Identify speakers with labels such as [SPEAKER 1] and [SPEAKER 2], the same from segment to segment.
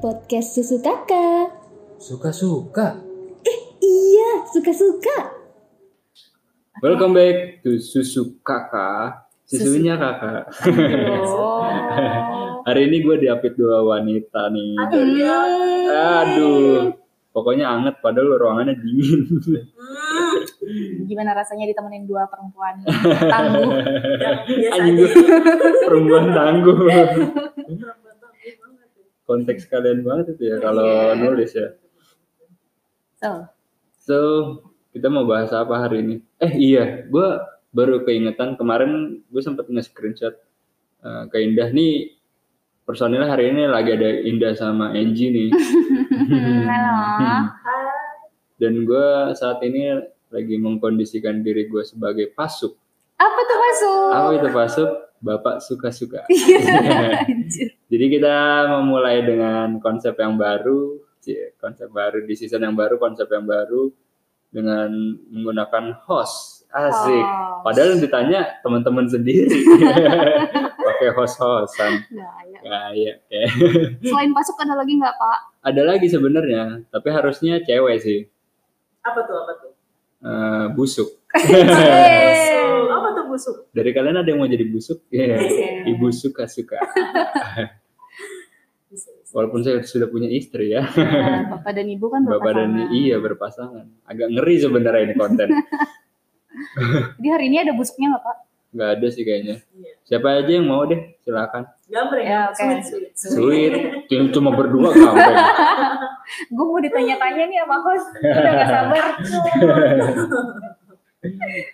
[SPEAKER 1] podcast Susu Kakak.
[SPEAKER 2] Suka-suka.
[SPEAKER 1] Iya, suka-suka.
[SPEAKER 2] Welcome back to Susu Kakak. Susunya kakak. Hari ini gue diapit dua wanita nih.
[SPEAKER 3] iya.
[SPEAKER 2] Aduh. Pokoknya anget padahal ruangannya dingin.
[SPEAKER 3] Hmm. Gimana rasanya ditemenin dua perempuan tangguh?
[SPEAKER 2] Anjing gue perempuan tangguh. Konteks kalian banget itu ya kalau
[SPEAKER 3] Iya.
[SPEAKER 2] nulis ya.
[SPEAKER 3] So,
[SPEAKER 2] So, kita mau bahas apa hari ini? Eh iya, gue baru keingetan kemarin gue sempat nge-screenshot eh, ke Indah nih personil hari ini lagi ada Indah sama Angie nih.
[SPEAKER 3] Halo.
[SPEAKER 2] Dan gue saat ini lagi mengkondisikan diri gue sebagai pasuk.
[SPEAKER 3] apa tuh masuk?
[SPEAKER 2] Apa itu pasuk? Bapak suka-suka. Jadi kita memulai dengan konsep yang baru, cie, konsep baru di season yang baru, konsep yang baru dengan menggunakan host. Asik.
[SPEAKER 3] Oh.
[SPEAKER 2] Padahal yang ditanya teman-teman sendiri. Pakai host-hostan. Kayak kayak.
[SPEAKER 3] Selain masuk ada lagi nggak Pak?
[SPEAKER 2] Ada lagi sebenarnya, tapi harusnya cewek sih.
[SPEAKER 4] apa tuh apa tuh
[SPEAKER 2] Eh, busuk.
[SPEAKER 4] busuk apa tuh busuk
[SPEAKER 2] Dari kalian ada yang mau jadi busuk? Iya.
[SPEAKER 3] Iya.
[SPEAKER 2] Ibu suka-suka.
[SPEAKER 4] Busuk, busuk.
[SPEAKER 2] Walaupun saya sudah punya istri ya.
[SPEAKER 3] Nah, Bapak dan Ibu kan
[SPEAKER 2] Bapak dan
[SPEAKER 3] berpasangan.
[SPEAKER 2] iya berpasangan. Agak ngeri sebenarnya ini konten.
[SPEAKER 3] Jadi hari ini ada busuknya nggak Pak?
[SPEAKER 2] Nggak ada sih kayaknya.
[SPEAKER 4] Iya.
[SPEAKER 2] Siapa aja yang mau deh, silakan.
[SPEAKER 4] gambreng ya,
[SPEAKER 3] Ya, oke.
[SPEAKER 4] sulit sulit
[SPEAKER 2] Sweet, cuma berdua kampeng.
[SPEAKER 3] Gue mau ditanya-tanya nih sama host. Udah nggak sabar.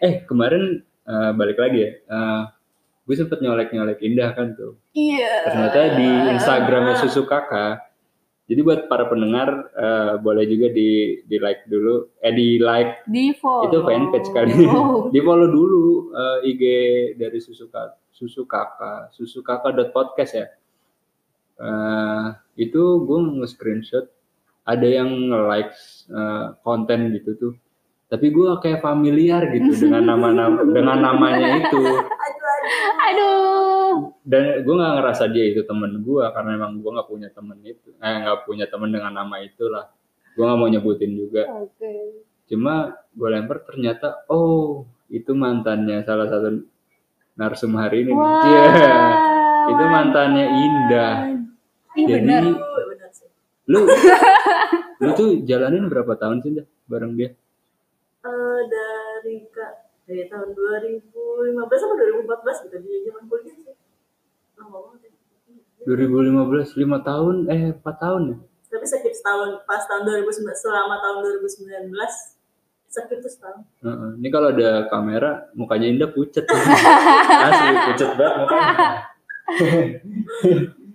[SPEAKER 2] Eh kemarin eh, balik lagi ya. Eh, gue sempet nyolek-nyolek Indah kan tuh.
[SPEAKER 3] Iya.
[SPEAKER 2] Ternyata di Instagramnya Susu Kakak. Jadi buat para pendengar eh, boleh juga di di like dulu, eh di like
[SPEAKER 3] Di follow.
[SPEAKER 2] itu fanpage kali
[SPEAKER 3] Oh.
[SPEAKER 2] di follow dulu eh, IG dari susu Kak- susu kakak susu kakak podcast ya Eh, itu gue nge screenshot ada yang nge like konten gitu tuh tapi gue kayak familiar gitu dengan nama nama dengan namanya itu
[SPEAKER 3] Aduh.
[SPEAKER 2] dan gue nggak ngerasa dia itu temen gue karena emang gue nggak punya temen itu eh nggak punya temen dengan nama itulah gue nggak mau nyebutin juga
[SPEAKER 3] Oke.
[SPEAKER 2] cuma gue lempar ternyata oh itu mantannya salah satu narsum hari ini
[SPEAKER 3] Wah.
[SPEAKER 2] Cie. itu mantannya Indah
[SPEAKER 3] Iya
[SPEAKER 2] jadi
[SPEAKER 3] benar.
[SPEAKER 4] Aduh, benar sih.
[SPEAKER 2] lu lu tuh jalanin berapa tahun sih dah bareng dia
[SPEAKER 4] Eh, dari kak dari tahun 2015 atau 2014 gitu di zaman kuliah sih lama banget ya.
[SPEAKER 2] 2015 lima tahun eh 4 tahun ya
[SPEAKER 4] tapi skip setahun pas tahun 2019 selama tahun 2019 skip tuh setahun
[SPEAKER 2] Heeh. ini kalau ada kamera mukanya Indah pucet asli pucet banget mukanya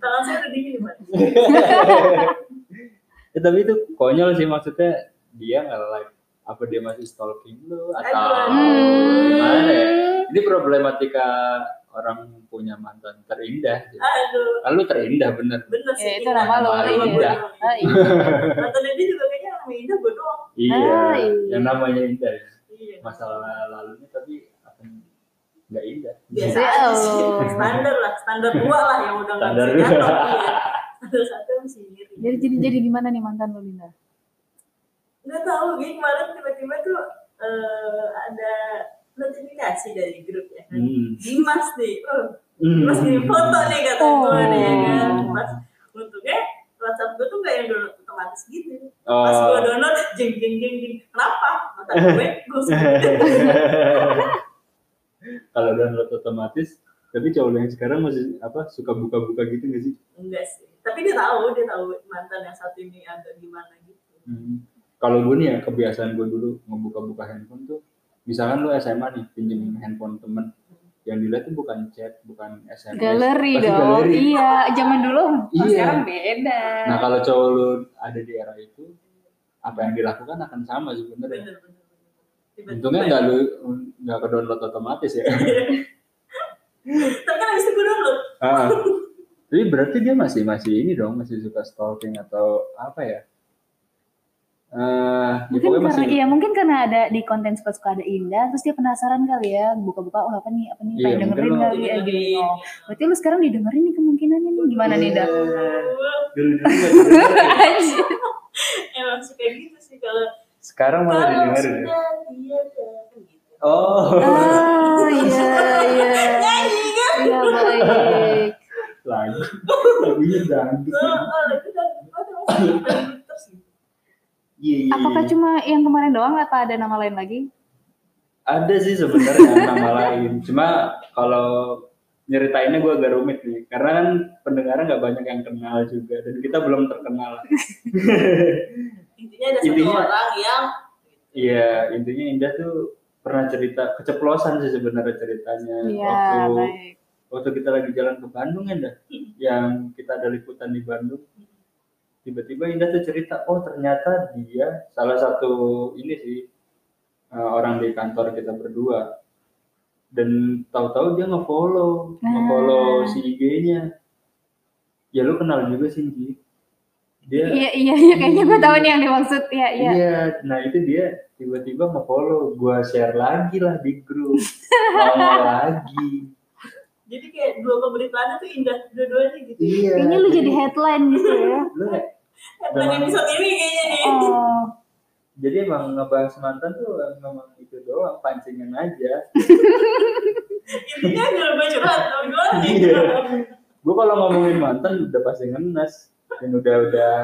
[SPEAKER 4] tangan saya udah dingin Mbak.
[SPEAKER 2] Eh, tapi itu konyol sih maksudnya dia nggak like apa dia masih stalking lu atau
[SPEAKER 4] Aduh.
[SPEAKER 2] gimana ya
[SPEAKER 3] Hmm.
[SPEAKER 2] ini problematika orang punya mantan terindah gitu.
[SPEAKER 4] aduh
[SPEAKER 2] lalu terindah bener
[SPEAKER 4] bener sih
[SPEAKER 3] Ya, itu nama lo.
[SPEAKER 2] Nama lo,
[SPEAKER 3] Iya.
[SPEAKER 2] udah.
[SPEAKER 3] Ah, iya.
[SPEAKER 4] Nonton dia juga kayaknya sama Indah gue doang
[SPEAKER 2] iya
[SPEAKER 3] Hai.
[SPEAKER 2] yang namanya indah ya.
[SPEAKER 4] iya
[SPEAKER 2] masalah lalunya tapi akan nggak indah
[SPEAKER 4] biasa
[SPEAKER 3] Iya.
[SPEAKER 4] aja sih standar lah standar dua lah yang udah nggak
[SPEAKER 2] Standar
[SPEAKER 4] bisa
[SPEAKER 2] dua.
[SPEAKER 4] nyantol, iya. standar satu masih ngiri
[SPEAKER 3] Jadi jadi jadi gimana nih mantan lu Linda?
[SPEAKER 4] nggak tahu gini kemarin tiba-tiba tuh eh, ada notifikasi dari grup ya kan
[SPEAKER 2] Hmm.
[SPEAKER 4] Dimas nih oh,
[SPEAKER 2] Hmm.
[SPEAKER 4] Dimas kirim foto nih kata gue nih ya kan
[SPEAKER 2] Oh.
[SPEAKER 4] pas untungnya WhatsApp gue tuh nggak yang download otomatis gitu pas gue
[SPEAKER 2] Oh.
[SPEAKER 4] download jeng jeng jeng jeng kenapa mata gue gue suka
[SPEAKER 2] kalau download otomatis tapi cowok lu yang sekarang masih apa suka buka-buka gitu nggak sih
[SPEAKER 4] enggak sih tapi dia tahu dia tahu mantan yang satu ini agak gimana gitu
[SPEAKER 2] Hmm. kalau gue nih ya kebiasaan gue dulu ngebuka-buka handphone tuh misalkan lu SMA nih pinjemin handphone temen yang dilihat tuh bukan chat bukan SMS
[SPEAKER 3] Galeri
[SPEAKER 2] pasti
[SPEAKER 3] dong.
[SPEAKER 2] galeri.
[SPEAKER 3] Iya, zaman dulu. Kalau
[SPEAKER 2] Iya.
[SPEAKER 3] Sekarang beda.
[SPEAKER 2] Nah kalau cowok lu ada di era itu, apa yang dilakukan akan sama sebenarnya.
[SPEAKER 4] bener bener bener. Tiba-tiba
[SPEAKER 2] Untungnya nggak lu nggak ke download otomatis ya.
[SPEAKER 4] tapi kan habis itu gue download
[SPEAKER 2] Ah. Tapi berarti dia masih masih ini dong, masih suka stalking atau apa ya? eh, ya
[SPEAKER 3] Mungkin
[SPEAKER 2] pokoknya
[SPEAKER 3] karena
[SPEAKER 2] masih
[SPEAKER 3] iya mungkin karena ada di konten suka-suka ada Indah, terus dia penasaran kali ya, buka-buka oh apa nih, apa nih,
[SPEAKER 2] Iya, mungkin
[SPEAKER 3] pengen dengerin
[SPEAKER 2] lo-
[SPEAKER 3] kali ya gitu. Oh, berarti lu sekarang didengerin nih kemungkinannya nih gimana nih,
[SPEAKER 2] Iya.
[SPEAKER 3] Dah?
[SPEAKER 2] Dulu-dulu nggak didengerin.
[SPEAKER 4] emang suka gitu sih kalau
[SPEAKER 2] Sekarang malah
[SPEAKER 4] kalau
[SPEAKER 2] didengerin. ya?
[SPEAKER 4] suka dia kan gitu
[SPEAKER 2] Oh,
[SPEAKER 3] Ah, iya, iya. Iya, baik.
[SPEAKER 2] lagu. Lagunya dangdut.
[SPEAKER 4] Oh, oh, itu udah gua tuh masih lagi terus gitu.
[SPEAKER 2] Iya, iya,
[SPEAKER 3] Apakah
[SPEAKER 2] iya.
[SPEAKER 3] cuma yang kemarin doang apa ada nama lain lagi?
[SPEAKER 2] Ada sih sebenarnya nama lain. Cuma kalau nyeritainnya gue agak rumit nih. Karena kan pendengarnya nggak banyak yang kenal juga. Dan kita belum terkenal.
[SPEAKER 4] intinya ada satu
[SPEAKER 2] Intinya-
[SPEAKER 4] orang yang
[SPEAKER 2] Iya, intinya Indah tuh pernah cerita keceplosan sih sebenarnya ceritanya
[SPEAKER 3] Iya,
[SPEAKER 2] waktu
[SPEAKER 3] baik.
[SPEAKER 2] waktu kita lagi jalan ke Bandung Indah, yang kita ada liputan di Bandung. Tiba-tiba Indah tuh cerita, oh ternyata dia salah satu ini sih eh, orang di kantor kita berdua. Dan tahu-tahu dia nge-follow, nge-follow
[SPEAKER 3] Ah.
[SPEAKER 2] si IG-nya. Ya lu kenal juga sih, Ji. Dia
[SPEAKER 3] Iya, iya, iya, kayaknya gue tahu nih yang dimaksud. Iya, iya.
[SPEAKER 2] Iya, nah itu dia tiba-tiba mau follow, gua share lagi lah di grup, lama lagi.
[SPEAKER 4] jadi kayak dua pemberitaannya tuh indah dua-duanya gitu
[SPEAKER 2] Iya.
[SPEAKER 3] Kayaknya lu jadi headline gitu ya.
[SPEAKER 2] lu,
[SPEAKER 4] Tentang
[SPEAKER 2] Memang.
[SPEAKER 4] episode ini kayaknya nih
[SPEAKER 3] Oh.
[SPEAKER 2] jadi emang ngebahas mantan tuh memang itu doang pancingan aja.
[SPEAKER 4] intinya gak lebih curhat tau gimana nih
[SPEAKER 2] Iya. Gua kalau ngomongin mantan udah pasti ngenes dan udah udah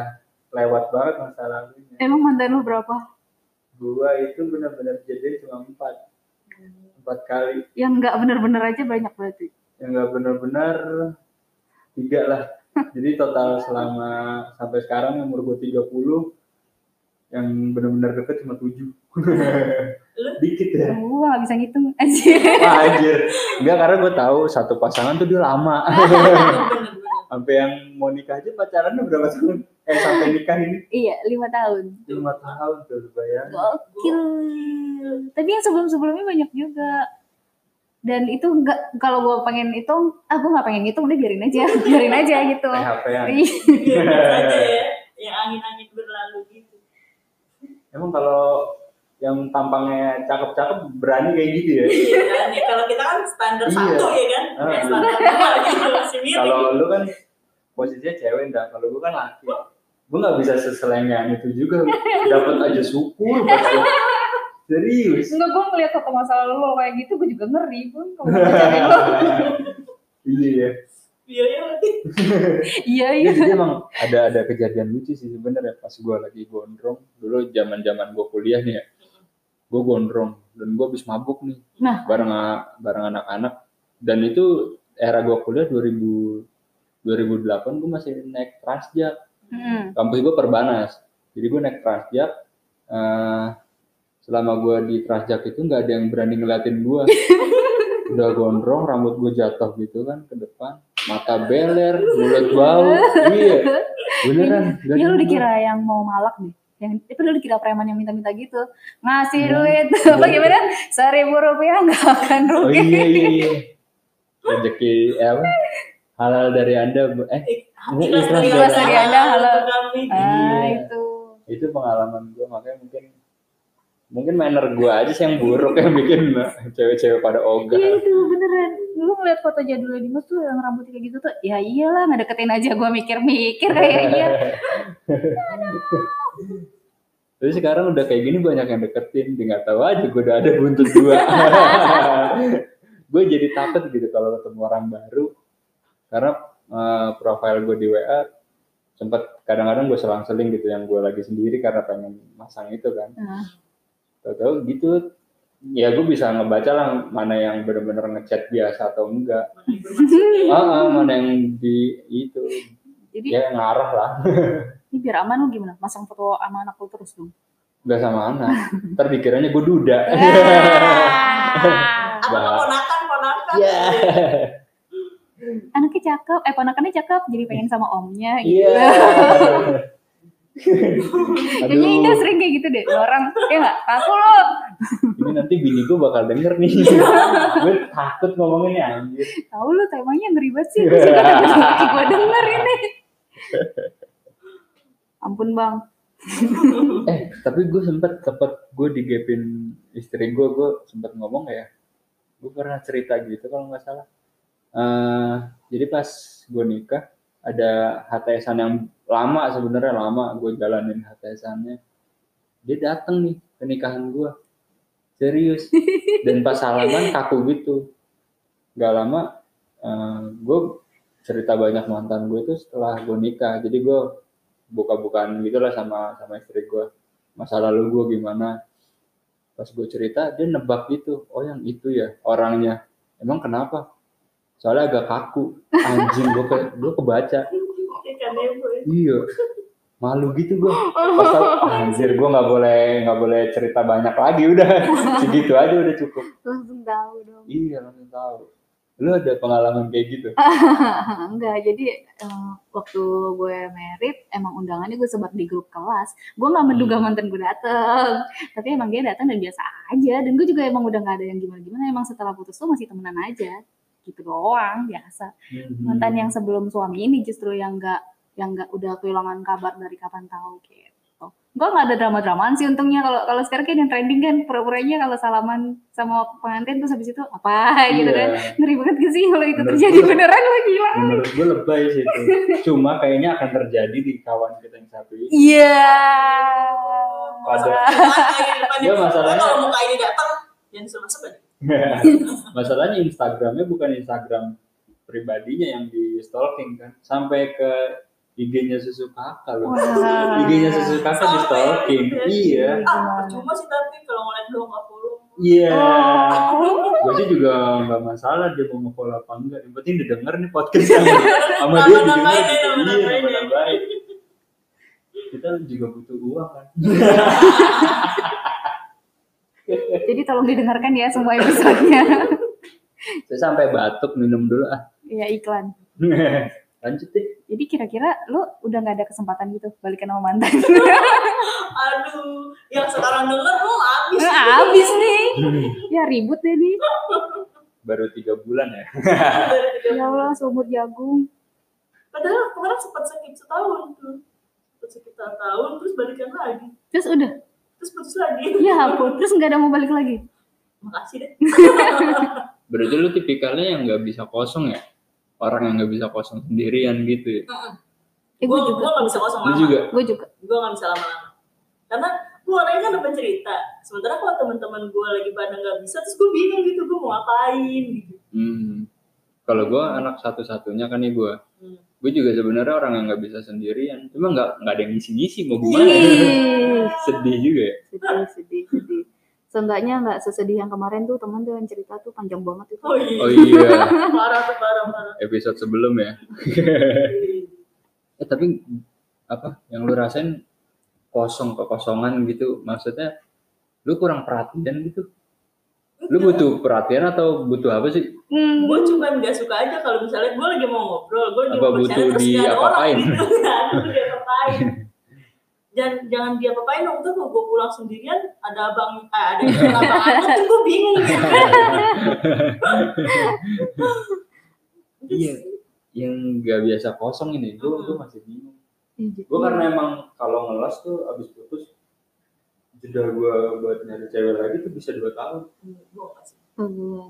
[SPEAKER 2] lewat banget masa lalunya.
[SPEAKER 3] Emang mantan lu berapa?
[SPEAKER 2] Gua itu benar-benar jadi cuma empat empat kali
[SPEAKER 3] Yang nggak bener-bener aja banyak berarti.
[SPEAKER 2] yang nggak benar-benar tiga lah jadi total selama sampai sekarang umur gue 30 yang benar-benar deket cuma tujuh dikit ya
[SPEAKER 3] Gue gak bisa ngitung aja.
[SPEAKER 2] Wah, anjir enggak karena gue tahu satu pasangan tuh dia lama
[SPEAKER 4] bener-bener
[SPEAKER 2] sampai yang mau nikah aja pacarannya berapa tahun eh sampai nikah ini
[SPEAKER 3] iya, lima tahun.
[SPEAKER 2] lima tahun tuh lu bayangin
[SPEAKER 3] Gokil. Tapi yang sebelum-sebelumnya banyak juga. Dan itu nggak kalau gue pengen hitung, ah gue nggak pengen ngitung, udah biarin aja, biarin aja gitu.
[SPEAKER 2] eh apa ya
[SPEAKER 3] Iya.
[SPEAKER 4] Iya, biasa aja ya yang angin-angin berlalu gitu
[SPEAKER 2] emang kalau yang tampangnya cakep-cakep berani kayak gitu ya
[SPEAKER 4] Iya kan, ya kalau kita kan standar
[SPEAKER 2] Iya.
[SPEAKER 4] satu ya kan
[SPEAKER 2] Ah.
[SPEAKER 4] Eh, standar dua gitu masih mirip
[SPEAKER 2] kalau lu kan posisinya cewek enggak kalau gue kan laki gue nggak bisa seselengan itu juga dapat aja syukur pasti. serius
[SPEAKER 3] Enggak, gue ngeliat foto masa lalu lo kayak gitu, gue juga ngeri pun. kalau pacarin lo.
[SPEAKER 2] iya ya
[SPEAKER 4] iya iya berarti
[SPEAKER 3] Iya,
[SPEAKER 2] Iya,
[SPEAKER 3] iya.
[SPEAKER 2] jadi emang ada ada kejadian lucu sih sebenarnya pas gue lagi gondrong dulu zaman zaman gue kuliah nih ya gue gondrong dan gue habis mabuk nih
[SPEAKER 3] Nah.
[SPEAKER 2] bareng bareng anak-anak dan itu era gue kuliah 2000 2008 gue masih naik transjakarta
[SPEAKER 3] Mm.
[SPEAKER 2] kampus gue perbanas jadi gue naik transjak eh, selama gue di transjak itu nggak ada yang berani ngeliatin gue udah gondrong rambut gue jatuh gitu kan ke depan mata beler mulut bau iya beneran
[SPEAKER 3] Ya lu
[SPEAKER 2] ngeliatin
[SPEAKER 3] dikira yang mau malak deh. Yang itu dulu dikira preman yang minta-minta gitu.
[SPEAKER 2] Ya.
[SPEAKER 3] Ngasih duit. Bagaimana? Seribu rupiah nggak akan
[SPEAKER 2] gua. oh
[SPEAKER 3] rugi.
[SPEAKER 2] iya iya iya rezeki eh, apa halal dari anda Bu. eh
[SPEAKER 4] ikhlas dari
[SPEAKER 2] Ikhlas dari
[SPEAKER 3] Anda, halo.
[SPEAKER 4] untuk kami.
[SPEAKER 3] Ah,
[SPEAKER 2] Iya.
[SPEAKER 3] itu.
[SPEAKER 2] itu pengalaman gue makanya mungkin mungkin manner gue aja sih yang buruk yang bikin cewek-cewek pada ogah
[SPEAKER 3] Iya itu beneran. Lu ngeliat foto jadul Dimas tuh yang rambutnya kayak gitu tuh. Ya iyalah nggak deketin aja gua mikir-mikir kayaknya.
[SPEAKER 2] Tapi sekarang udah kayak gini banyak yang deketin, dia nggak tahu aja gue udah ada buntut dua. gue jadi takut gitu kalau ketemu orang baru, karena eh, profil gue di WA sempat kadang-kadang gue selang-seling gitu yang gue lagi sendiri karena pengen masang itu kan.
[SPEAKER 3] Nah.
[SPEAKER 2] Tahu-tahu gitu, ya gue bisa ngebaca lah mana yang bener-bener ngechat biasa atau enggak, ah ah, mana yang di itu,
[SPEAKER 3] Jadi
[SPEAKER 2] ya ngarah lah.
[SPEAKER 3] ini biar aman lu gimana? Masang foto sama anak lu terus dong.
[SPEAKER 2] Gak sama anak, ntar dikiranya gue duda.
[SPEAKER 3] Ah.
[SPEAKER 4] apa
[SPEAKER 2] Bah.
[SPEAKER 4] keponakan Iya, kan, ponakan
[SPEAKER 2] Ya.
[SPEAKER 3] Anaknya cakep, eh ponakannya cakep, jadi pengen sama omnya gitu.
[SPEAKER 2] Iya.
[SPEAKER 3] Kayaknya Indah
[SPEAKER 2] Aduh,
[SPEAKER 3] sering kayak gitu deh, orang ya nggak? Aku lo
[SPEAKER 2] ini nanti bini gue bakal denger nih.
[SPEAKER 3] Iya.
[SPEAKER 2] gue takut ngomonginnya anjir.
[SPEAKER 3] tahu lo temanya ngeri banget sih,
[SPEAKER 2] Iya.
[SPEAKER 3] gue juga takut laki gue denger ini. Ampun bang,
[SPEAKER 2] eh tapi gue sempet sempet gue digepin istri gue gue sempet ngomong ya gue pernah cerita gitu kalau nggak salah Eh, jadi pas gue nikah ada HTSan yang lama sebenarnya lama gue jalanin HTSannya dia dateng nih ke nikahan gue serius dan pas salaman kaku gitu nggak lama eh, gue cerita banyak mantan gue itu setelah gue nikah jadi gue buka-bukaan gitulah sama sama istri gue masa lalu gue gimana pas gue cerita dia nebak gitu oh yang itu ya orangnya emang kenapa soalnya agak kaku anjing gue ke, gue kebaca
[SPEAKER 4] Iya. Ikan Nemo ya.
[SPEAKER 2] iya malu gitu gue pas tau, anjir gue nggak boleh nggak boleh cerita banyak lagi udah segitu aja udah cukup
[SPEAKER 3] langsung tahu dong
[SPEAKER 2] iya langsung tahu lu ada pengalaman kayak gitu
[SPEAKER 3] Ah, enggak jadi eh, waktu gue merit emang undangannya gue sebar di grup kelas gue nggak menduga
[SPEAKER 2] Hmm.
[SPEAKER 3] mantan gue dateng tapi emang dia datang dan biasa aja dan gue juga emang udah nggak ada yang gimana gimana emang setelah putus tuh masih temenan aja gitu doang biasa
[SPEAKER 2] Hmm.
[SPEAKER 3] mantan yang sebelum suami ini justru yang nggak yang nggak udah kehilangan kabar dari kapan tahu gitu gue nggak ada drama dramaan sih untungnya kalau kalau sekarang kan yang trending kan pura-puranya kalau salaman sama pengantin terus habis itu apa gitu kan
[SPEAKER 2] iya.
[SPEAKER 3] ngeri banget gak sih kalau itu
[SPEAKER 2] Bener.
[SPEAKER 3] terjadi beneran lo gila
[SPEAKER 2] menurut gue lebay sih itu cuma kayaknya akan terjadi di kawan kita yang satu ini
[SPEAKER 3] Iya.
[SPEAKER 2] pada
[SPEAKER 4] Dia
[SPEAKER 2] Dia Iya, masalahnya-
[SPEAKER 4] Kalau muka ini datang, jangan suruh masuk aja.
[SPEAKER 2] masalahnya Instagramnya bukan Instagram pribadinya yang di stalking kan sampai ke IG-nya susu kakak loh
[SPEAKER 3] Wah.
[SPEAKER 2] IG-nya susu kakak Kan di stalking
[SPEAKER 4] gitu ya,
[SPEAKER 2] iya
[SPEAKER 4] Ah, percuma sih tapi kalau ngeliat dulu nggak follow.
[SPEAKER 2] iya
[SPEAKER 3] Oh.
[SPEAKER 2] gue sih juga nggak masalah dia mau nge-follow apa enggak yang penting didengar nih podcast sama, sama dia didengar
[SPEAKER 4] Nama-namain ya,
[SPEAKER 2] gitu. iya
[SPEAKER 4] nama-namain ya.
[SPEAKER 2] nama baik kita juga butuh uang kan
[SPEAKER 3] Jadi tolong didengarkan ya semua episodenya.
[SPEAKER 2] saya sampai batuk minum dulu ah
[SPEAKER 3] Iya iklan.
[SPEAKER 2] lanjut deh
[SPEAKER 3] Jadi kira-kira lu udah nggak ada kesempatan gitu balikan sama mantan?
[SPEAKER 4] Aduh, yang sekarang denger oh, lu abis.
[SPEAKER 3] Lu Abis nih.
[SPEAKER 2] Hmm.
[SPEAKER 3] Ya ribut deh nih.
[SPEAKER 2] baru tiga bulan ya
[SPEAKER 3] Ya Allah seumur jagung.
[SPEAKER 4] Padahal kemarin sempat sakit setahun tuh. Sempat sakit setahun, terus balikan lagi.
[SPEAKER 3] Terus udah.
[SPEAKER 4] Terus putus lagi.
[SPEAKER 3] Ya ampun. Terus nggak ada mau balik lagi.
[SPEAKER 4] Makasih deh.
[SPEAKER 2] berarti lu tipikalnya yang nggak bisa kosong ya orang yang nggak bisa kosong sendirian gitu ya
[SPEAKER 3] Eh,
[SPEAKER 4] Gue
[SPEAKER 3] gue
[SPEAKER 4] gue
[SPEAKER 3] juga.
[SPEAKER 4] nggak bisa kosong
[SPEAKER 2] lu
[SPEAKER 4] lama.
[SPEAKER 2] juga
[SPEAKER 3] Gue juga.
[SPEAKER 4] gue nggak bisa lama-lama karena gue orangnya kan depan cerita sementara kalau teman-teman gue lagi pada nggak bisa terus gue bingung gitu gue mau ngapain gitu
[SPEAKER 2] hmm. kalau gua anak satu-satunya kan ya gua
[SPEAKER 4] Hmm.
[SPEAKER 2] gue juga sebenarnya orang yang nggak bisa sendirian cuma nggak nggak ada yang ngisi-ngisi mau gimana
[SPEAKER 3] Ih,
[SPEAKER 2] sedih juga ya
[SPEAKER 3] sedih, sedih, sedih. Seenggaknya nggak sesedih yang kemarin tuh teman tuh yang cerita tuh panjang banget itu.
[SPEAKER 4] oh iya
[SPEAKER 2] oh iya
[SPEAKER 4] parah tuh parah parah
[SPEAKER 2] episode sebelum ya eh tapi apa yang lu rasain kosong kekosongan gitu maksudnya lu kurang perhatian gitu lu butuh perhatian atau butuh apa sih
[SPEAKER 3] Hmm.
[SPEAKER 4] gue cuma nggak suka aja kalau misalnya gue lagi mau ngobrol gue lagi
[SPEAKER 2] Apa
[SPEAKER 4] mau bercanda
[SPEAKER 2] butuh
[SPEAKER 4] terus nggak ada orang
[SPEAKER 2] diapa-apain?
[SPEAKER 4] gitu kan itu diapa-apain jangan jangan diapa-apain dong tuh gue pulang sendirian ada abang eh, ada yang abang aku tuh gue bingung gitu
[SPEAKER 2] iya yang nggak biasa kosong ini gue gue masih bingung
[SPEAKER 3] Ih, gitu.
[SPEAKER 2] gue karena emang kalau ngelas tuh abis putus jeda gue buat nyari cewek lagi tuh bisa dua tahun
[SPEAKER 4] Gua nggak suka.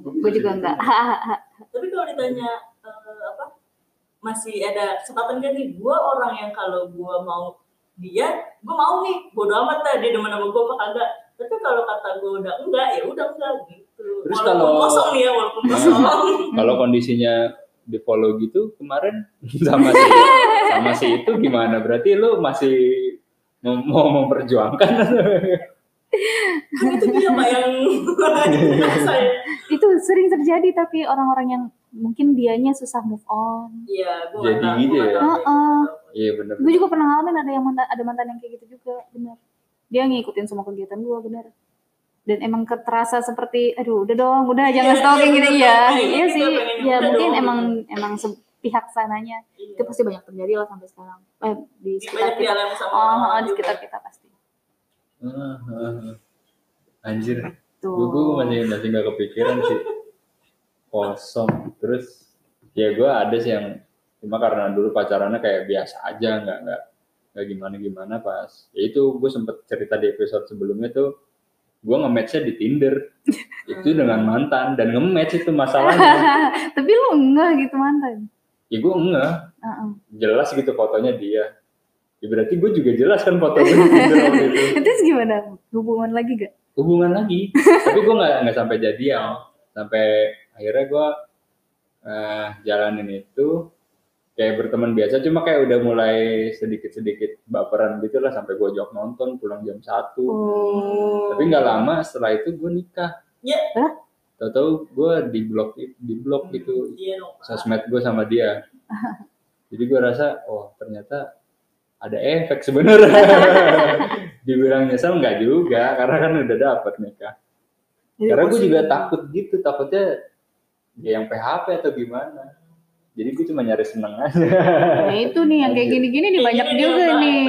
[SPEAKER 3] gue juga enggak
[SPEAKER 4] tapi kalau ditanya eh, apa masih ada kesempatan gak nih gue orang yang kalau gue mau dia gue mau nih bodo amat lah dia demen sama gue apa kagak tapi kalau kata gue udah enggak ya udah enggak gitu
[SPEAKER 2] Terus
[SPEAKER 4] walaupun
[SPEAKER 2] kalau-
[SPEAKER 4] kosong nih ya walaupun kosong
[SPEAKER 2] kalau kondisinya di follow gitu kemarin sama si sama si itu gimana berarti lu masih mem- mau memperjuangkan
[SPEAKER 4] kan itu dia pak yang ya. saya
[SPEAKER 3] itu sering terjadi tapi orang-orang yang mungkin dianya susah move on
[SPEAKER 4] iya gue
[SPEAKER 2] Jadi gitu ya?
[SPEAKER 3] Heeh.
[SPEAKER 2] iya bener
[SPEAKER 3] gue juga pernah ngalamin ada yang mantan, ada mantan yang kayak gitu juga bener dia ngikutin semua kegiatan gue bener dan emang keterasa seperti aduh udah dong udah jangan
[SPEAKER 4] Iya,
[SPEAKER 3] stalking
[SPEAKER 4] iya,
[SPEAKER 3] gitu
[SPEAKER 4] bener,
[SPEAKER 3] ya
[SPEAKER 4] bener,
[SPEAKER 3] iya
[SPEAKER 4] kita
[SPEAKER 3] sih
[SPEAKER 4] pengen
[SPEAKER 3] ya
[SPEAKER 4] udah
[SPEAKER 3] mungkin
[SPEAKER 4] dong.
[SPEAKER 3] emang emang se- pihak sananya itu pasti banyak terjadi lah sampai sekarang eh, di
[SPEAKER 4] Iya, banyak
[SPEAKER 3] sekitar kita
[SPEAKER 4] dialami sama
[SPEAKER 3] oh, oh,
[SPEAKER 4] orang-orang
[SPEAKER 3] di
[SPEAKER 4] juga.
[SPEAKER 3] sekitar kita pasti
[SPEAKER 2] Ah, ah, ah. anjir gue gue
[SPEAKER 3] tuh
[SPEAKER 2] masih masih nggak kepikiran sih kosong terus ya gue ada sih yang cuma karena dulu pacarannya kayak biasa aja nggak nggak nggak gimana gimana pas ya itu gue sempet cerita di episode sebelumnya tuh gue nge-match-nya di Tinder itu dengan mantan dan nge-match itu masalahnya
[SPEAKER 3] Tapi lu enggak gitu mantan.
[SPEAKER 2] ya gue enggak
[SPEAKER 3] Heeh.
[SPEAKER 2] jelas gitu fotonya dia ya berarti gue juga jelas kan fotonya di Tinder waktu itu
[SPEAKER 3] Terus gimana? Hubungan lagi gak?
[SPEAKER 2] hubungan lagi tapi gue nggak nggak sampai jadian sampai akhirnya gue eh jalanin itu kayak berteman biasa cuma kayak udah mulai sedikit sedikit baperan gitu lah sampai gue jok nonton pulang jam satu
[SPEAKER 4] Hmm.
[SPEAKER 3] Oh.
[SPEAKER 2] tapi nggak lama setelah itu gue nikah
[SPEAKER 4] Ya.
[SPEAKER 3] Hah?
[SPEAKER 2] tahu-tahu gue di blok di blok gitu
[SPEAKER 4] Iya dong.
[SPEAKER 2] sosmed gue sama dia jadi gue rasa oh ternyata ada efek sebenarnya dibilang nyesel nggak juga karena kan udah dapet nikah
[SPEAKER 3] Jadi
[SPEAKER 2] karena gue
[SPEAKER 3] positif.
[SPEAKER 2] juga takut gitu takutnya dia yang PHP atau gimana jadi gue cuma nyari seneng aja
[SPEAKER 3] Nah itu nih yang kayak gini-gini nih banyak
[SPEAKER 4] Ini
[SPEAKER 3] juga
[SPEAKER 4] dia, Mbak.
[SPEAKER 3] nih.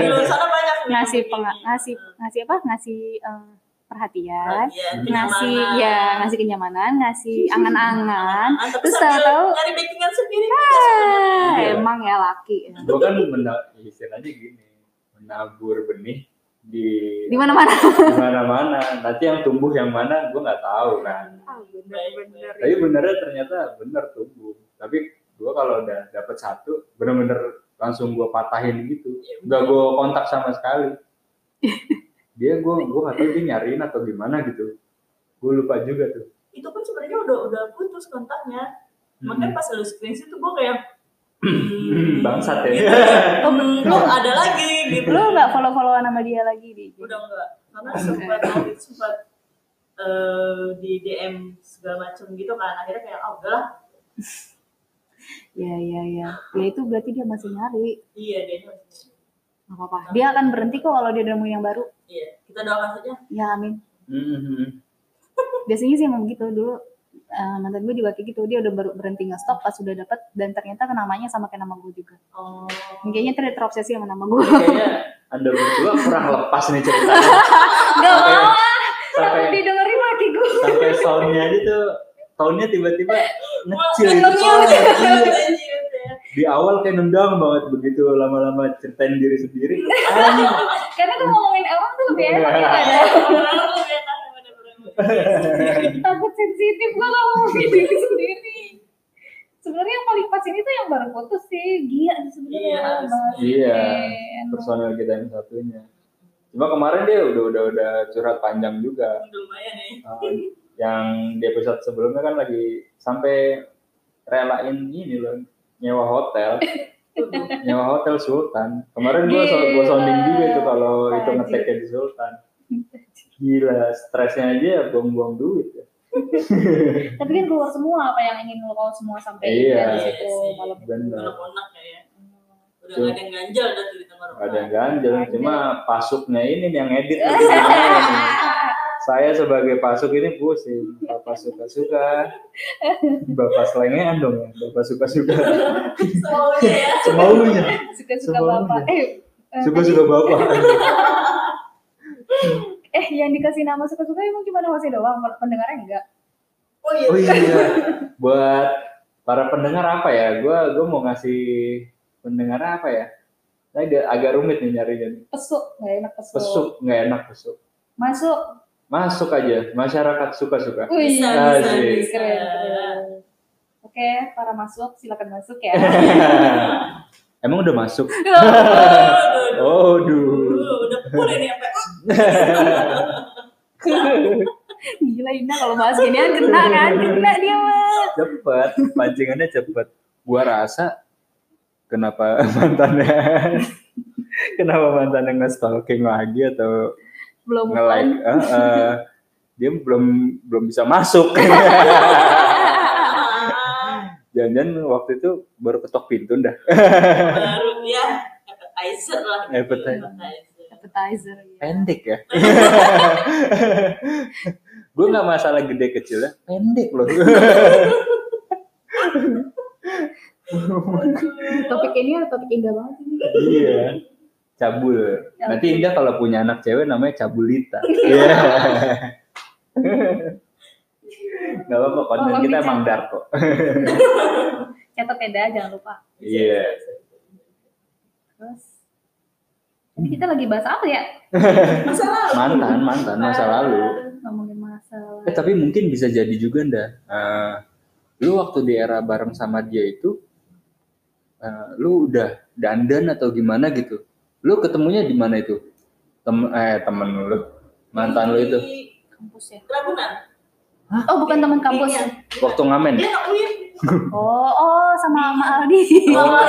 [SPEAKER 4] Di luar sana iya, banyak nih. Iya.
[SPEAKER 3] ngasih penga- ngasih ngasih apa? Ngasih eh, perhatian,
[SPEAKER 4] Iya,
[SPEAKER 3] ngasih
[SPEAKER 4] kenyamanan.
[SPEAKER 3] ya ngasih kenyamanan, ngasih angan-angan.
[SPEAKER 4] Nah, tapi
[SPEAKER 3] Terus
[SPEAKER 4] sambil
[SPEAKER 3] tahu
[SPEAKER 4] nyari backingan sendiri
[SPEAKER 3] ah,
[SPEAKER 2] Iya.
[SPEAKER 3] emang ya laki. ya.
[SPEAKER 2] gue kan mena istilahnya gini menabur benih di
[SPEAKER 3] Di mana-mana.
[SPEAKER 2] mana-mana nanti yang tumbuh yang mana gue nggak tahu kan
[SPEAKER 4] bener-bener.
[SPEAKER 2] tapi benernya ternyata bener tumbuh tapi gue kalau udah dapet satu bener-bener langsung gue patahin gitu nggak gue kontak sama sekali dia gue gue nggak tahu dia nyariin atau gimana gitu gue lupa juga tuh
[SPEAKER 4] itu pun sebenarnya udah udah putus kontaknya
[SPEAKER 2] Mm-mm.
[SPEAKER 4] makanya pas lu screenshot tuh gue kayak
[SPEAKER 2] Hmm, bangsat ya.
[SPEAKER 4] gitu. Hmm, lo ada lagi gitu
[SPEAKER 3] Lu nggak follow-followan sama dia lagi di
[SPEAKER 4] udah enggak karena sempat sempat eh, di DM segala macem gitu kan akhirnya kayak oh udahlah
[SPEAKER 3] Ya ya ya. Ya itu berarti dia masih nyari.
[SPEAKER 4] iya deh
[SPEAKER 3] Gak apa-apa. Dia akan berhenti kok kalau dia udah nemuin yang baru.
[SPEAKER 4] iya kita doakan saja
[SPEAKER 3] Ya amin.
[SPEAKER 2] Mhm.
[SPEAKER 3] Biasanya sih emang gitu dulu. eh, mantan gue juga kayak gitu dia udah baru berhenti nge-stop pas sudah dapet dan ternyata namanya sama kayak nama gue juga
[SPEAKER 4] oh
[SPEAKER 3] kayaknya dia terobsesi sama nama gue
[SPEAKER 2] kayaknya anda berdua kurang lepas nih ceritanya
[SPEAKER 3] Gak
[SPEAKER 2] Sampai-
[SPEAKER 3] mau
[SPEAKER 2] sampai
[SPEAKER 3] takut didengerin lagi gue
[SPEAKER 2] sampai soundnya aja tuh tahunnya tiba-tiba ngecil gitu.
[SPEAKER 4] Iya,
[SPEAKER 2] di awal kayak nendang banget begitu lama-lama ceritain diri sendiri anjing
[SPEAKER 3] karena tuh ngomongin orang tuh lebih enak ya kan?
[SPEAKER 2] Iya.
[SPEAKER 4] Iya, "Ah,
[SPEAKER 3] takut sensitif gue gak mau ngomongin diri sendiri sebenarnya yang paling pas ini tuh yang baru putus sih Gia sih
[SPEAKER 4] Iya,
[SPEAKER 3] sebenarnya
[SPEAKER 2] iya.
[SPEAKER 3] Banget.
[SPEAKER 2] personal kita yang satunya. Cuma kemarin dia udah udah udah curhat panjang juga.
[SPEAKER 4] lumayan nih
[SPEAKER 2] Uh, yang di episode sebelumnya kan lagi sampai relain ini loh nyewa hotel, nyewa hotel Sultan. Kemarin gua so- gua
[SPEAKER 3] Gila.
[SPEAKER 2] sounding juga itu kalau itu
[SPEAKER 3] Anjir.
[SPEAKER 2] ngeteknya di Sultan. Gila, stresnya aja buang-buang duit ya.
[SPEAKER 3] tapi kan keluar semua apa yang ingin lo semua sampai
[SPEAKER 2] Iya.
[SPEAKER 3] dari situ malam itu.
[SPEAKER 2] Benar.
[SPEAKER 4] anak ya udah gak ada yang ganjal dah tuh di tenggorokan
[SPEAKER 2] Iya. Ada yang ganjel, cuma pasuknya ini nih yang edit. lagi gimana. saya sebagai pasuk ini pusing bapak suka suka bapak selengean dong ya bapak suka suka
[SPEAKER 4] Soalnya ya
[SPEAKER 2] semaunya
[SPEAKER 3] suka-suka
[SPEAKER 2] Semua
[SPEAKER 3] bapak
[SPEAKER 2] udah.
[SPEAKER 3] eh eh,
[SPEAKER 2] suka suka bapak
[SPEAKER 3] eh yang dikasih nama suka-suka emang cuma Hosi doang pendengarnya enggak
[SPEAKER 4] oh iya
[SPEAKER 2] oh iya buat para pendengar apa ya gue gue mau ngasih pendengar apa ya Nah, agak, agak rumit nih nyarinya nih.
[SPEAKER 3] pesuk nggak enak pesuk,
[SPEAKER 2] pesuk nggak enak pesuk
[SPEAKER 3] masuk
[SPEAKER 2] masuk aja masyarakat suka suka
[SPEAKER 3] Wih,
[SPEAKER 4] Bisa,
[SPEAKER 2] bisa,
[SPEAKER 3] keren,
[SPEAKER 4] bisa.
[SPEAKER 3] keren. Oke, para masuk silakan masuk ya.
[SPEAKER 2] emang udah masuk
[SPEAKER 4] Aduh,
[SPEAKER 2] oh
[SPEAKER 4] aduh,
[SPEAKER 2] duh
[SPEAKER 4] aduh. udah pulih nih sampai
[SPEAKER 3] Gila Indah kalau bahas ginian kena kan, kena dia mah.
[SPEAKER 2] cepet pancingannya cepet gua rasa kenapa mantannya kenapa mantannya nge-stalking lagi atau
[SPEAKER 3] Belum
[SPEAKER 2] nge-like Eh, eh, dia belum belum bisa masuk jangan-jangan waktu itu baru ketok pintu dah
[SPEAKER 4] baru ya appetizer lah gitu,
[SPEAKER 2] Appetizer.
[SPEAKER 3] appetizer. Ya.
[SPEAKER 2] pendek ya gue nggak masalah gede kecil ya pendek loh
[SPEAKER 3] Topik ini ada topik indah banget ini.
[SPEAKER 2] iya cabul nanti Indah kalau punya anak cewek namanya cabulita iya nggak apa-apa konten kita
[SPEAKER 3] Kalau bicara-
[SPEAKER 2] emang dark kok
[SPEAKER 3] Catat ya Dah, jangan lupa.
[SPEAKER 2] iya
[SPEAKER 3] Terus Ini kita lagi bahas apa ya?
[SPEAKER 4] masa lalu
[SPEAKER 2] mantan mantan masa lalu
[SPEAKER 3] Ngomongin masalah.
[SPEAKER 2] Eh, tapi mungkin bisa jadi juga nda. Eh, lu waktu di era bareng sama dia itu, eh, lu udah dandan atau gimana gitu? Lu ketemunya di mana itu? Tem eh temen lu, mantan lu itu
[SPEAKER 4] Di kampus ya Ragunan
[SPEAKER 3] Oh, bukan teman kampus.
[SPEAKER 4] Iya.
[SPEAKER 2] waktu ngamen
[SPEAKER 4] dia nak win
[SPEAKER 3] Oh, oh sama sama Aldi.
[SPEAKER 2] Oh.
[SPEAKER 4] dua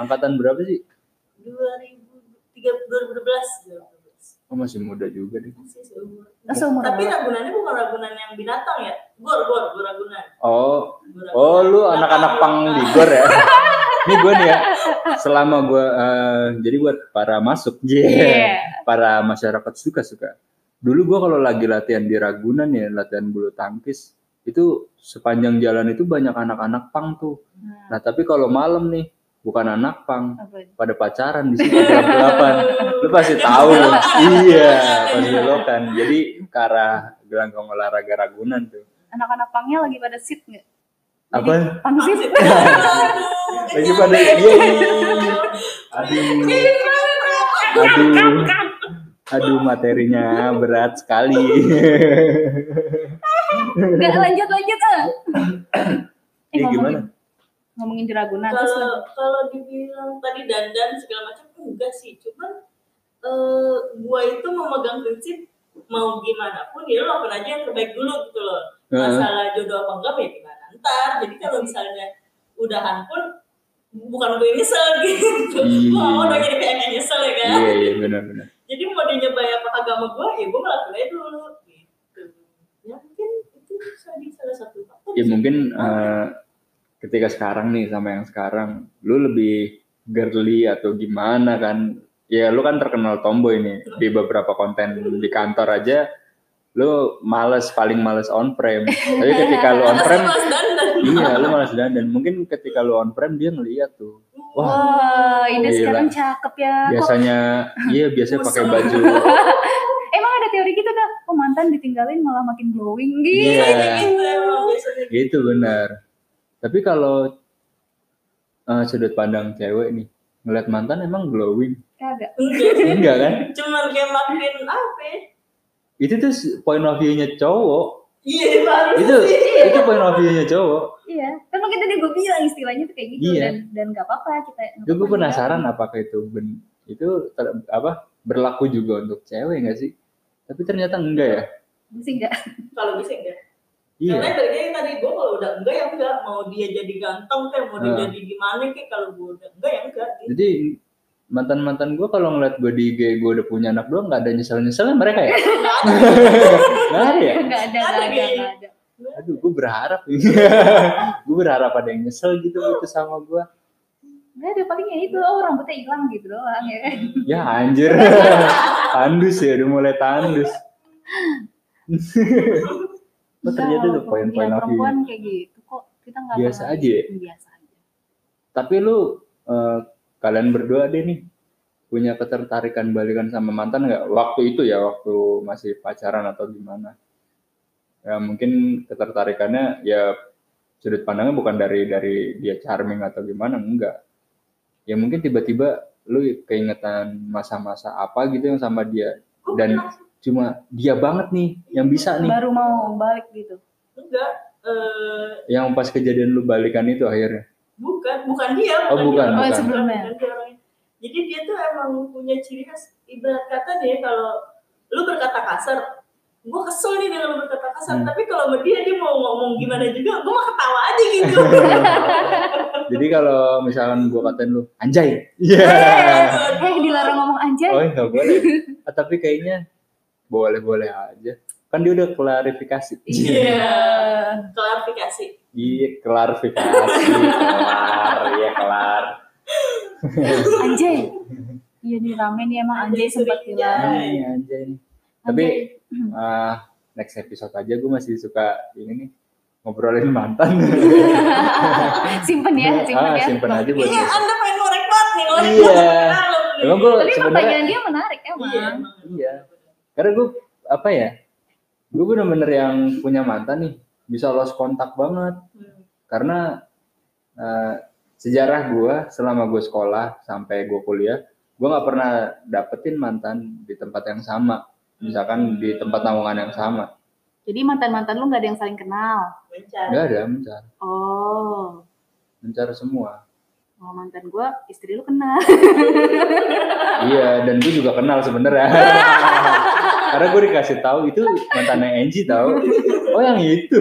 [SPEAKER 2] angkatan berapa sih?
[SPEAKER 4] ribu tiga dua ribu belas
[SPEAKER 2] Oh, masih muda juga deh.
[SPEAKER 3] Oh, seumur
[SPEAKER 4] tapi
[SPEAKER 3] aku.
[SPEAKER 4] Ragunannya bukan Ragunan yang binatang ya gor gor gor Ragunan
[SPEAKER 2] Oh,
[SPEAKER 4] Gor
[SPEAKER 2] oh
[SPEAKER 4] Ragunan.
[SPEAKER 2] lu anak-anak pang di gor ya. Ini gue nih ya, selama gue, jadi buat para masuk, yeah.
[SPEAKER 3] Iya.
[SPEAKER 2] para masyarakat suka suka. Dulu gua kalau lagi latihan di Ragunan ya, latihan bulu tangkis, itu sepanjang jalan itu banyak anak-anak pang tuh. Nah, tapi kalau malam nih, bukan anak pang,
[SPEAKER 3] Apa?
[SPEAKER 2] pada pacaran di situ gelap-gelapan. Lu pasti tahu lu. Iya, pasti belokan. Jadi ke arah gelanggang olahraga Ragunan tuh.
[SPEAKER 3] Anak-anak pangnya lagi pada sit nggak?
[SPEAKER 2] Apa?
[SPEAKER 3] Pang sit?
[SPEAKER 2] Lagi pada iya. Aduh. Aduh. Aduh, materinya berat sekali.
[SPEAKER 3] Nggak lanjut lanjut ah. Eh,
[SPEAKER 2] Iya,
[SPEAKER 3] ngomongin-
[SPEAKER 2] gimana?
[SPEAKER 3] Ngomongin di
[SPEAKER 2] Nah,
[SPEAKER 3] Ragunan terus
[SPEAKER 4] kalau kalau dibilang tadi dandan segala macam enggak sih cuman eh gua itu memegang prinsip mau gimana pun ya lo lakukan aja yang terbaik dulu gitu loh masalah jodoh apa enggak ya gimana ntar jadi kalau misalnya udahan pun bukan gue yang nyesel gitu
[SPEAKER 2] Iya.
[SPEAKER 4] gua mau udah jadi kayak yang nyesel ya kan
[SPEAKER 2] Iya, iya benar-benar.
[SPEAKER 4] jadi mau dinyebai apa agama gua ya gua ngelakuin aja dulu gitu ya mungkin itu bisa jadi salah satu faktor
[SPEAKER 2] Ya mungkin eh, ketika sekarang nih sama yang sekarang, lu lebih girly atau gimana kan? Ya lu kan terkenal tomboy nih di beberapa konten di kantor aja lu males paling males on prem. Tapi ketika lu on prem
[SPEAKER 4] Mas dandan
[SPEAKER 2] iya lu males dan dan mungkin ketika lu on prem dia ngeliat tuh. Wah,
[SPEAKER 3] Wah, ini
[SPEAKER 2] Gila.
[SPEAKER 3] sekarang cakep ya. Kok
[SPEAKER 2] biasanya iya biasanya pakai
[SPEAKER 4] Musuh.
[SPEAKER 2] baju
[SPEAKER 3] emang ada teori gitu dah? Oh, mantan ditinggalin malah makin glowing gitu.
[SPEAKER 2] Iya.
[SPEAKER 4] itu emang biasanya
[SPEAKER 2] Itu gitu, benar. Tapi kalau eh, sudut pandang cewek nih, ngeliat mantan emang glowing.
[SPEAKER 3] Kagak.
[SPEAKER 4] Enggak sih.
[SPEAKER 2] Enggak kan?
[SPEAKER 4] Cuman kayak makin apa ya?
[SPEAKER 2] Itu tuh s- point of view-nya cowok.
[SPEAKER 4] Iya, baru
[SPEAKER 2] Itu itu point of view-nya cowok.
[SPEAKER 3] Iya. Kan mungkin tadi gue bilang istilahnya tuh kayak gitu
[SPEAKER 2] Iya.
[SPEAKER 3] dan dan nggak apa-apa kita.
[SPEAKER 2] Itu gue penasaran apakah itu ben- itu ter- apa berlaku juga untuk cewek nggak sih? Tapi ternyata enggak ya.
[SPEAKER 3] Gue sih nggak.
[SPEAKER 4] Kalau bisa enggak.
[SPEAKER 2] Iya.
[SPEAKER 4] Karena dari yang tadi gue kalau udah enggak ya enggak. Mau dia jadi ganteng kayak mau dia
[SPEAKER 2] Hmm.
[SPEAKER 4] jadi gimana kayak kalau gue udah enggak ya enggak. Gitu.
[SPEAKER 2] Jadi mantan-mantan gue kalau ngeliat gue di IG gue udah punya anak doang nggak ada nyesel-nyeselnya mereka ya?
[SPEAKER 4] Enggak ada.
[SPEAKER 2] Nggak ada ya?
[SPEAKER 3] Nggak ada, nggak ada,
[SPEAKER 4] Ada.
[SPEAKER 3] nggak ada.
[SPEAKER 2] Aduh, gue berharap. gue berharap ada yang nyesel gitu gitu sama gue.
[SPEAKER 3] Nggak ada palingnya itu. Oh, rambutnya hilang gitu doang ya kan.
[SPEAKER 2] Ya anjir. tandus ya, udah mulai tandus. Oh, ternyata
[SPEAKER 3] Nggak,
[SPEAKER 2] tuh poin-poin
[SPEAKER 3] iya,
[SPEAKER 2] of view.
[SPEAKER 3] perempuan kayak gitu kok kita nggak
[SPEAKER 2] Biasa
[SPEAKER 3] pernah-
[SPEAKER 2] aja ya?
[SPEAKER 3] Biasa aja.
[SPEAKER 2] Tapi lu eh, kalian berdua deh nih punya ketertarikan balikan sama mantan nggak waktu itu ya waktu masih pacaran atau gimana? Ya mungkin ketertarikannya ya sudut pandangnya bukan dari dari dia charming atau gimana enggak. Ya mungkin tiba-tiba lu keingetan masa-masa apa gitu yang sama dia
[SPEAKER 3] Oh,
[SPEAKER 4] Gue
[SPEAKER 2] Dan-
[SPEAKER 3] iya.
[SPEAKER 4] pernah
[SPEAKER 2] cuma dia banget nih yang bisa nih
[SPEAKER 3] Baru mau balik gitu.
[SPEAKER 4] enggak. Eh,
[SPEAKER 2] yang pas kejadian lu balikan itu akhirnya
[SPEAKER 4] bukan, bukan dia.
[SPEAKER 2] Oh, bukan,
[SPEAKER 4] dia.
[SPEAKER 2] bukan.
[SPEAKER 3] Oh, sebelumnya.
[SPEAKER 4] Bukan dia orangnya. Jadi dia tuh emang punya ciri khas. Ibarat kata nih kalau lu berkata kasar, gue kesel nih dengan lu berkata
[SPEAKER 2] Hmm.
[SPEAKER 4] kasar. Tapi kalau sama dia dia mau ngomong gimana juga, gue mah ketawa aja gitu.
[SPEAKER 2] jadi kalau misalkan gua katain lu anjay iya
[SPEAKER 4] gitu.
[SPEAKER 3] Eh, dilarang ngomong anjay.
[SPEAKER 2] oh nggak boleh Ah, tapi kayaknya boleh boleh aja kan dia udah klarifikasi
[SPEAKER 4] Iya. Klarifikasi.
[SPEAKER 2] iya klarifikasi kelar iya kelar
[SPEAKER 3] Anjay. Iya nih rame nih emang anjay sempat hilang.
[SPEAKER 2] Ini anjay nih. tapi ah, next episode aja gua masih suka ini nih ngobrolin mantan
[SPEAKER 3] Simpen ya, simpen
[SPEAKER 2] ah,
[SPEAKER 3] ya.
[SPEAKER 2] simpen aja buat
[SPEAKER 4] Iya,
[SPEAKER 2] besok.
[SPEAKER 4] Anda pengen ngorek banget nih, ngorek
[SPEAKER 2] Iya.
[SPEAKER 4] banget ke dalam nih.
[SPEAKER 2] emang gua
[SPEAKER 3] Tapi
[SPEAKER 2] sebenarnya
[SPEAKER 3] pertanyaan dia menarik emang.
[SPEAKER 4] Iya.
[SPEAKER 2] Iya. Karena gue apa ya? Gue bener-bener yang punya mantan nih bisa lost kontak banget
[SPEAKER 4] Hmm.
[SPEAKER 2] karena eh, sejarah gue selama gue sekolah sampai gue kuliah gue nggak pernah dapetin mantan di tempat yang sama misalkan di tempat tanggungan yang sama
[SPEAKER 3] Jadi mantan-mantan lu nggak ada yang saling kenal.
[SPEAKER 4] mencari
[SPEAKER 2] nggak ada mencar
[SPEAKER 3] Oh,
[SPEAKER 2] mencar semua
[SPEAKER 3] oh mantan gue istri lu kenal.
[SPEAKER 2] iya dan gue juga kenal sebenarnya karena gue dikasih tahu itu mantannya Angie tahu oh yang itu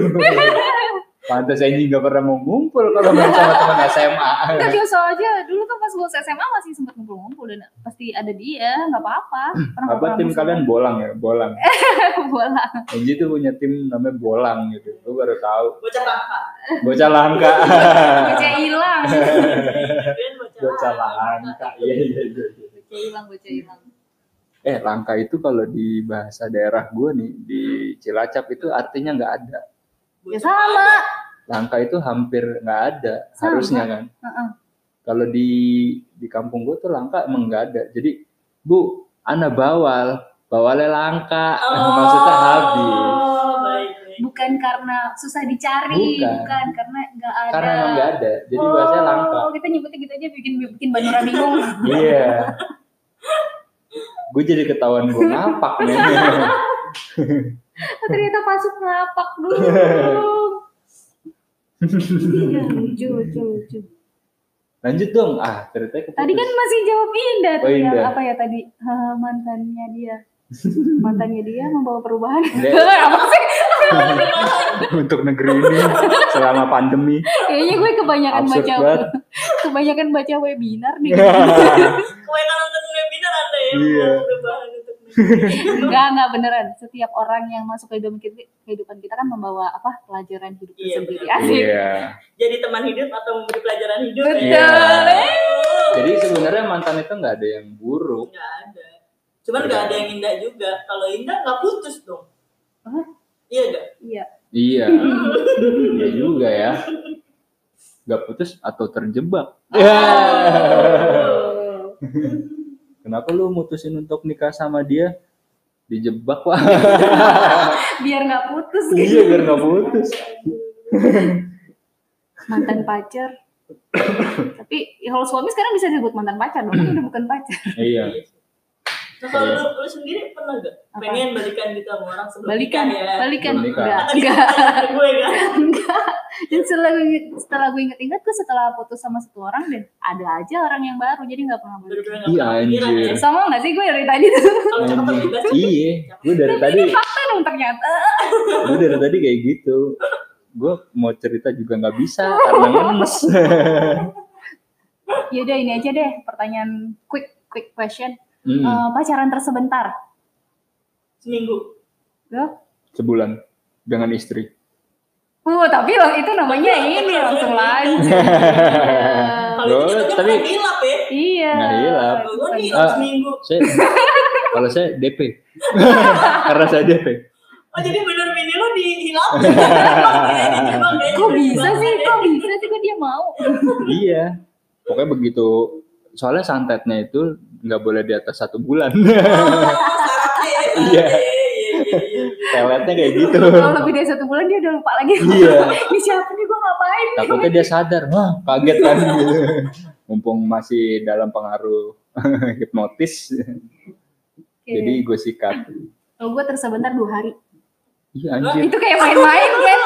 [SPEAKER 2] pantas Angie nggak pernah mau ngumpul kalau main sama teman SMA
[SPEAKER 3] Enggak biasa aja. Dulu tuh pas lulus SMA masih sempet ngumpul-ngumpul dan pasti ada dia, nggak apa-apa. Pernah
[SPEAKER 2] Hmm, apa tim kalian bolang ya bolang
[SPEAKER 3] bola.
[SPEAKER 2] Angie tuh punya tim namanya bolang gitu gue baru tahu
[SPEAKER 4] bocah langka
[SPEAKER 2] bocah langka
[SPEAKER 3] Bocah hilang.
[SPEAKER 4] kalian
[SPEAKER 2] bocah langka iya iya iya iya.
[SPEAKER 3] Bocah hilang, bocah hilang.
[SPEAKER 2] eh langka itu kalau di bahasa daerah gue nih di Cilacap itu artinya nggak ada
[SPEAKER 3] Ya sama.
[SPEAKER 2] langka itu hampir nggak ada
[SPEAKER 3] Sama.
[SPEAKER 2] harusnya kan
[SPEAKER 3] Heeh.
[SPEAKER 2] kalau di di kampung gue tuh langka emang nggak ada jadi bu ana bawal bawalnya langka maksudnya habis
[SPEAKER 4] oh baik baik
[SPEAKER 3] Bukan karena susah dicari,
[SPEAKER 2] Bukan.
[SPEAKER 3] bukan, karena nggak ada.
[SPEAKER 2] karena emang nggak ada jadi bahasanya langka
[SPEAKER 3] Oh, kita nyebutnya gitu aja bikin bikin Bandura bingung.
[SPEAKER 2] iya gue jadi ketahuan gue ngapak nih
[SPEAKER 3] Oh, ternyata masuk ngapak dulu. Iya, lucu, lucu, lucu.
[SPEAKER 2] lanjut dong ah ceritanya keputus.
[SPEAKER 3] Tadi kan masih jawab Indah tuh
[SPEAKER 2] Oh,
[SPEAKER 3] yang
[SPEAKER 2] Indah.
[SPEAKER 3] apa ya tadi Eh, mantannya dia. mantannya dia membawa perubahan.
[SPEAKER 2] Dek.
[SPEAKER 3] apa sih? kan-
[SPEAKER 2] untuk negeri ini selama pandemi
[SPEAKER 3] Kayaknya gue kebanyakan
[SPEAKER 2] Absurd
[SPEAKER 3] baca
[SPEAKER 2] banget.
[SPEAKER 3] kebanyakan baca webinar deh.
[SPEAKER 4] kebanyakan nonton webinar anda ya
[SPEAKER 2] Iya.
[SPEAKER 4] perubahan untuk negeri.
[SPEAKER 3] enggak, enggak beneran. Setiap orang yang masuk ke hidup kita, kehidupan kita kan membawa apa? pelajaran hidup itu
[SPEAKER 4] Iya,
[SPEAKER 3] sendiri.
[SPEAKER 4] benar.
[SPEAKER 3] Asik.
[SPEAKER 2] iya
[SPEAKER 4] jadi teman hidup atau memberi pelajaran hidup
[SPEAKER 3] Betul.
[SPEAKER 4] ya
[SPEAKER 2] jadi sebenarnya mantan itu nggak ada yang buruk
[SPEAKER 4] nggak ada cuman nggak ada yang indah juga kalau indah nggak putus dong
[SPEAKER 3] Hah?
[SPEAKER 4] iya nggak
[SPEAKER 3] Iya.
[SPEAKER 2] iya iya juga ya nggak putus atau terjebak Iya.
[SPEAKER 3] Oh.
[SPEAKER 2] kenapa lu mutusin untuk nikah sama dia dijebak wah
[SPEAKER 3] Biar nggak putus gitu.
[SPEAKER 2] iya biar nggak putus
[SPEAKER 3] mantan pacar. Tapi ya kalau suami sekarang bisa disebut mantan pacar dong, kan udah bukan pacar.
[SPEAKER 2] iya
[SPEAKER 4] Iya. Nah, kalau lu, lu sendiri pernah gak
[SPEAKER 3] Apa?
[SPEAKER 4] pengen balikan gitu sama orang sebelum
[SPEAKER 3] Balikan,
[SPEAKER 4] nikah ya?
[SPEAKER 3] balikan.
[SPEAKER 2] Belum nikah.
[SPEAKER 3] Enggak,
[SPEAKER 4] Tadi
[SPEAKER 3] enggak,
[SPEAKER 4] pertanyaan gue kan.
[SPEAKER 3] enggak. Dan setelah gue, setelah gue inget-inget tuh setelah putus sama satu orang dan ada aja orang yang baru jadi nggak pernah baru.
[SPEAKER 4] Bener-bener
[SPEAKER 2] Iya,
[SPEAKER 4] gak kepikiran
[SPEAKER 2] anjir.
[SPEAKER 4] ya.
[SPEAKER 3] Sama nggak sih gue dari tadi tuh?
[SPEAKER 4] Kalau cakep
[SPEAKER 2] Anjing.
[SPEAKER 4] terlibat
[SPEAKER 2] iya gue dari tadi
[SPEAKER 3] Fakta dong ternyata.
[SPEAKER 2] gue dari tadi kayak gitu gue mau cerita juga nggak bisa karena ngenes
[SPEAKER 3] Yaudah Ya ini aja deh pertanyaan quick quick question.
[SPEAKER 2] Hmm,
[SPEAKER 3] Eh, pacaran tersebentar.
[SPEAKER 4] seminggu.
[SPEAKER 3] Loh?
[SPEAKER 2] sebulan dengan istri
[SPEAKER 3] Uh, tapi loh itu namanya ini langsung lanjut. Iya.
[SPEAKER 4] Kalau
[SPEAKER 2] Loh,
[SPEAKER 4] itu kita
[SPEAKER 2] tapi-
[SPEAKER 4] tapi... hilap ya.
[SPEAKER 3] Iya.
[SPEAKER 2] Nggak hilap.
[SPEAKER 4] Kalau gue nih
[SPEAKER 2] Ah.
[SPEAKER 4] seminggu.
[SPEAKER 2] saya kalau saya DP karena saya DP
[SPEAKER 4] Oh jadi bener bini lu dihilap. Kok
[SPEAKER 3] Kok bisa sih?
[SPEAKER 4] ya?
[SPEAKER 3] Kok bisa sih? Kok dia mau?
[SPEAKER 2] iya pokoknya begitu soalnya santetnya itu nggak boleh di atas satu bulan Iya.
[SPEAKER 4] Oh, Iya. Iya. iya, iya.
[SPEAKER 2] teletnya kayak gitu
[SPEAKER 3] Kalau lebih dari satu bulan dia udah lupa lagi.
[SPEAKER 2] Iya.
[SPEAKER 3] Ini siapa nih? Gue ngapain?
[SPEAKER 2] takutnya dia sadar wah kaget kan gitu. mumpung masih dalam pengaruh hipnotis jadi gue sikat
[SPEAKER 3] Kalau gue tersebentar dua hari.
[SPEAKER 2] iya anjir
[SPEAKER 3] Itu kayak main-main kan?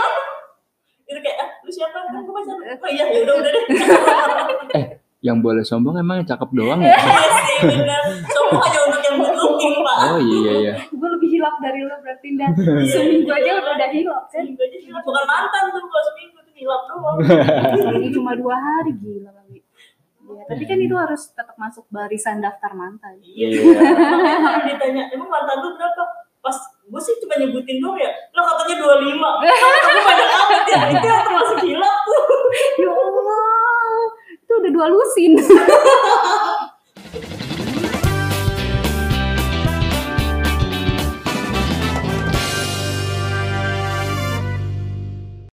[SPEAKER 4] Itu kayak, ah, lu siapa? Kan gue pacar. Oh iya, yaudah udah deh.
[SPEAKER 2] Eh, yang boleh sombong emang yang cakep doang ya
[SPEAKER 4] Iya sih, bener. Semua hanya untuk yang good looking, Pak.
[SPEAKER 2] oh iya iya
[SPEAKER 3] Gue lebih hilap dari lo berarti dan seminggu aja udah ada hilap kan?
[SPEAKER 4] Seminggu aja hilap. Bukan mantan tuh, kalau seminggu tuh hilap doang.
[SPEAKER 3] Ini cuma dua hari gila kali. Ya, tapi kan itu harus tetap masuk barisan daftar mantan.
[SPEAKER 2] Iya.
[SPEAKER 4] Makanya kalau ditanya, emang mantan lu berapa? Pas gue sih cuma nyebutin doang ya, lo katanya 25. Tapi banyak amat ya, itu yang termasuk hilap tuh.
[SPEAKER 3] Ya Allah, itu udah dua lusin.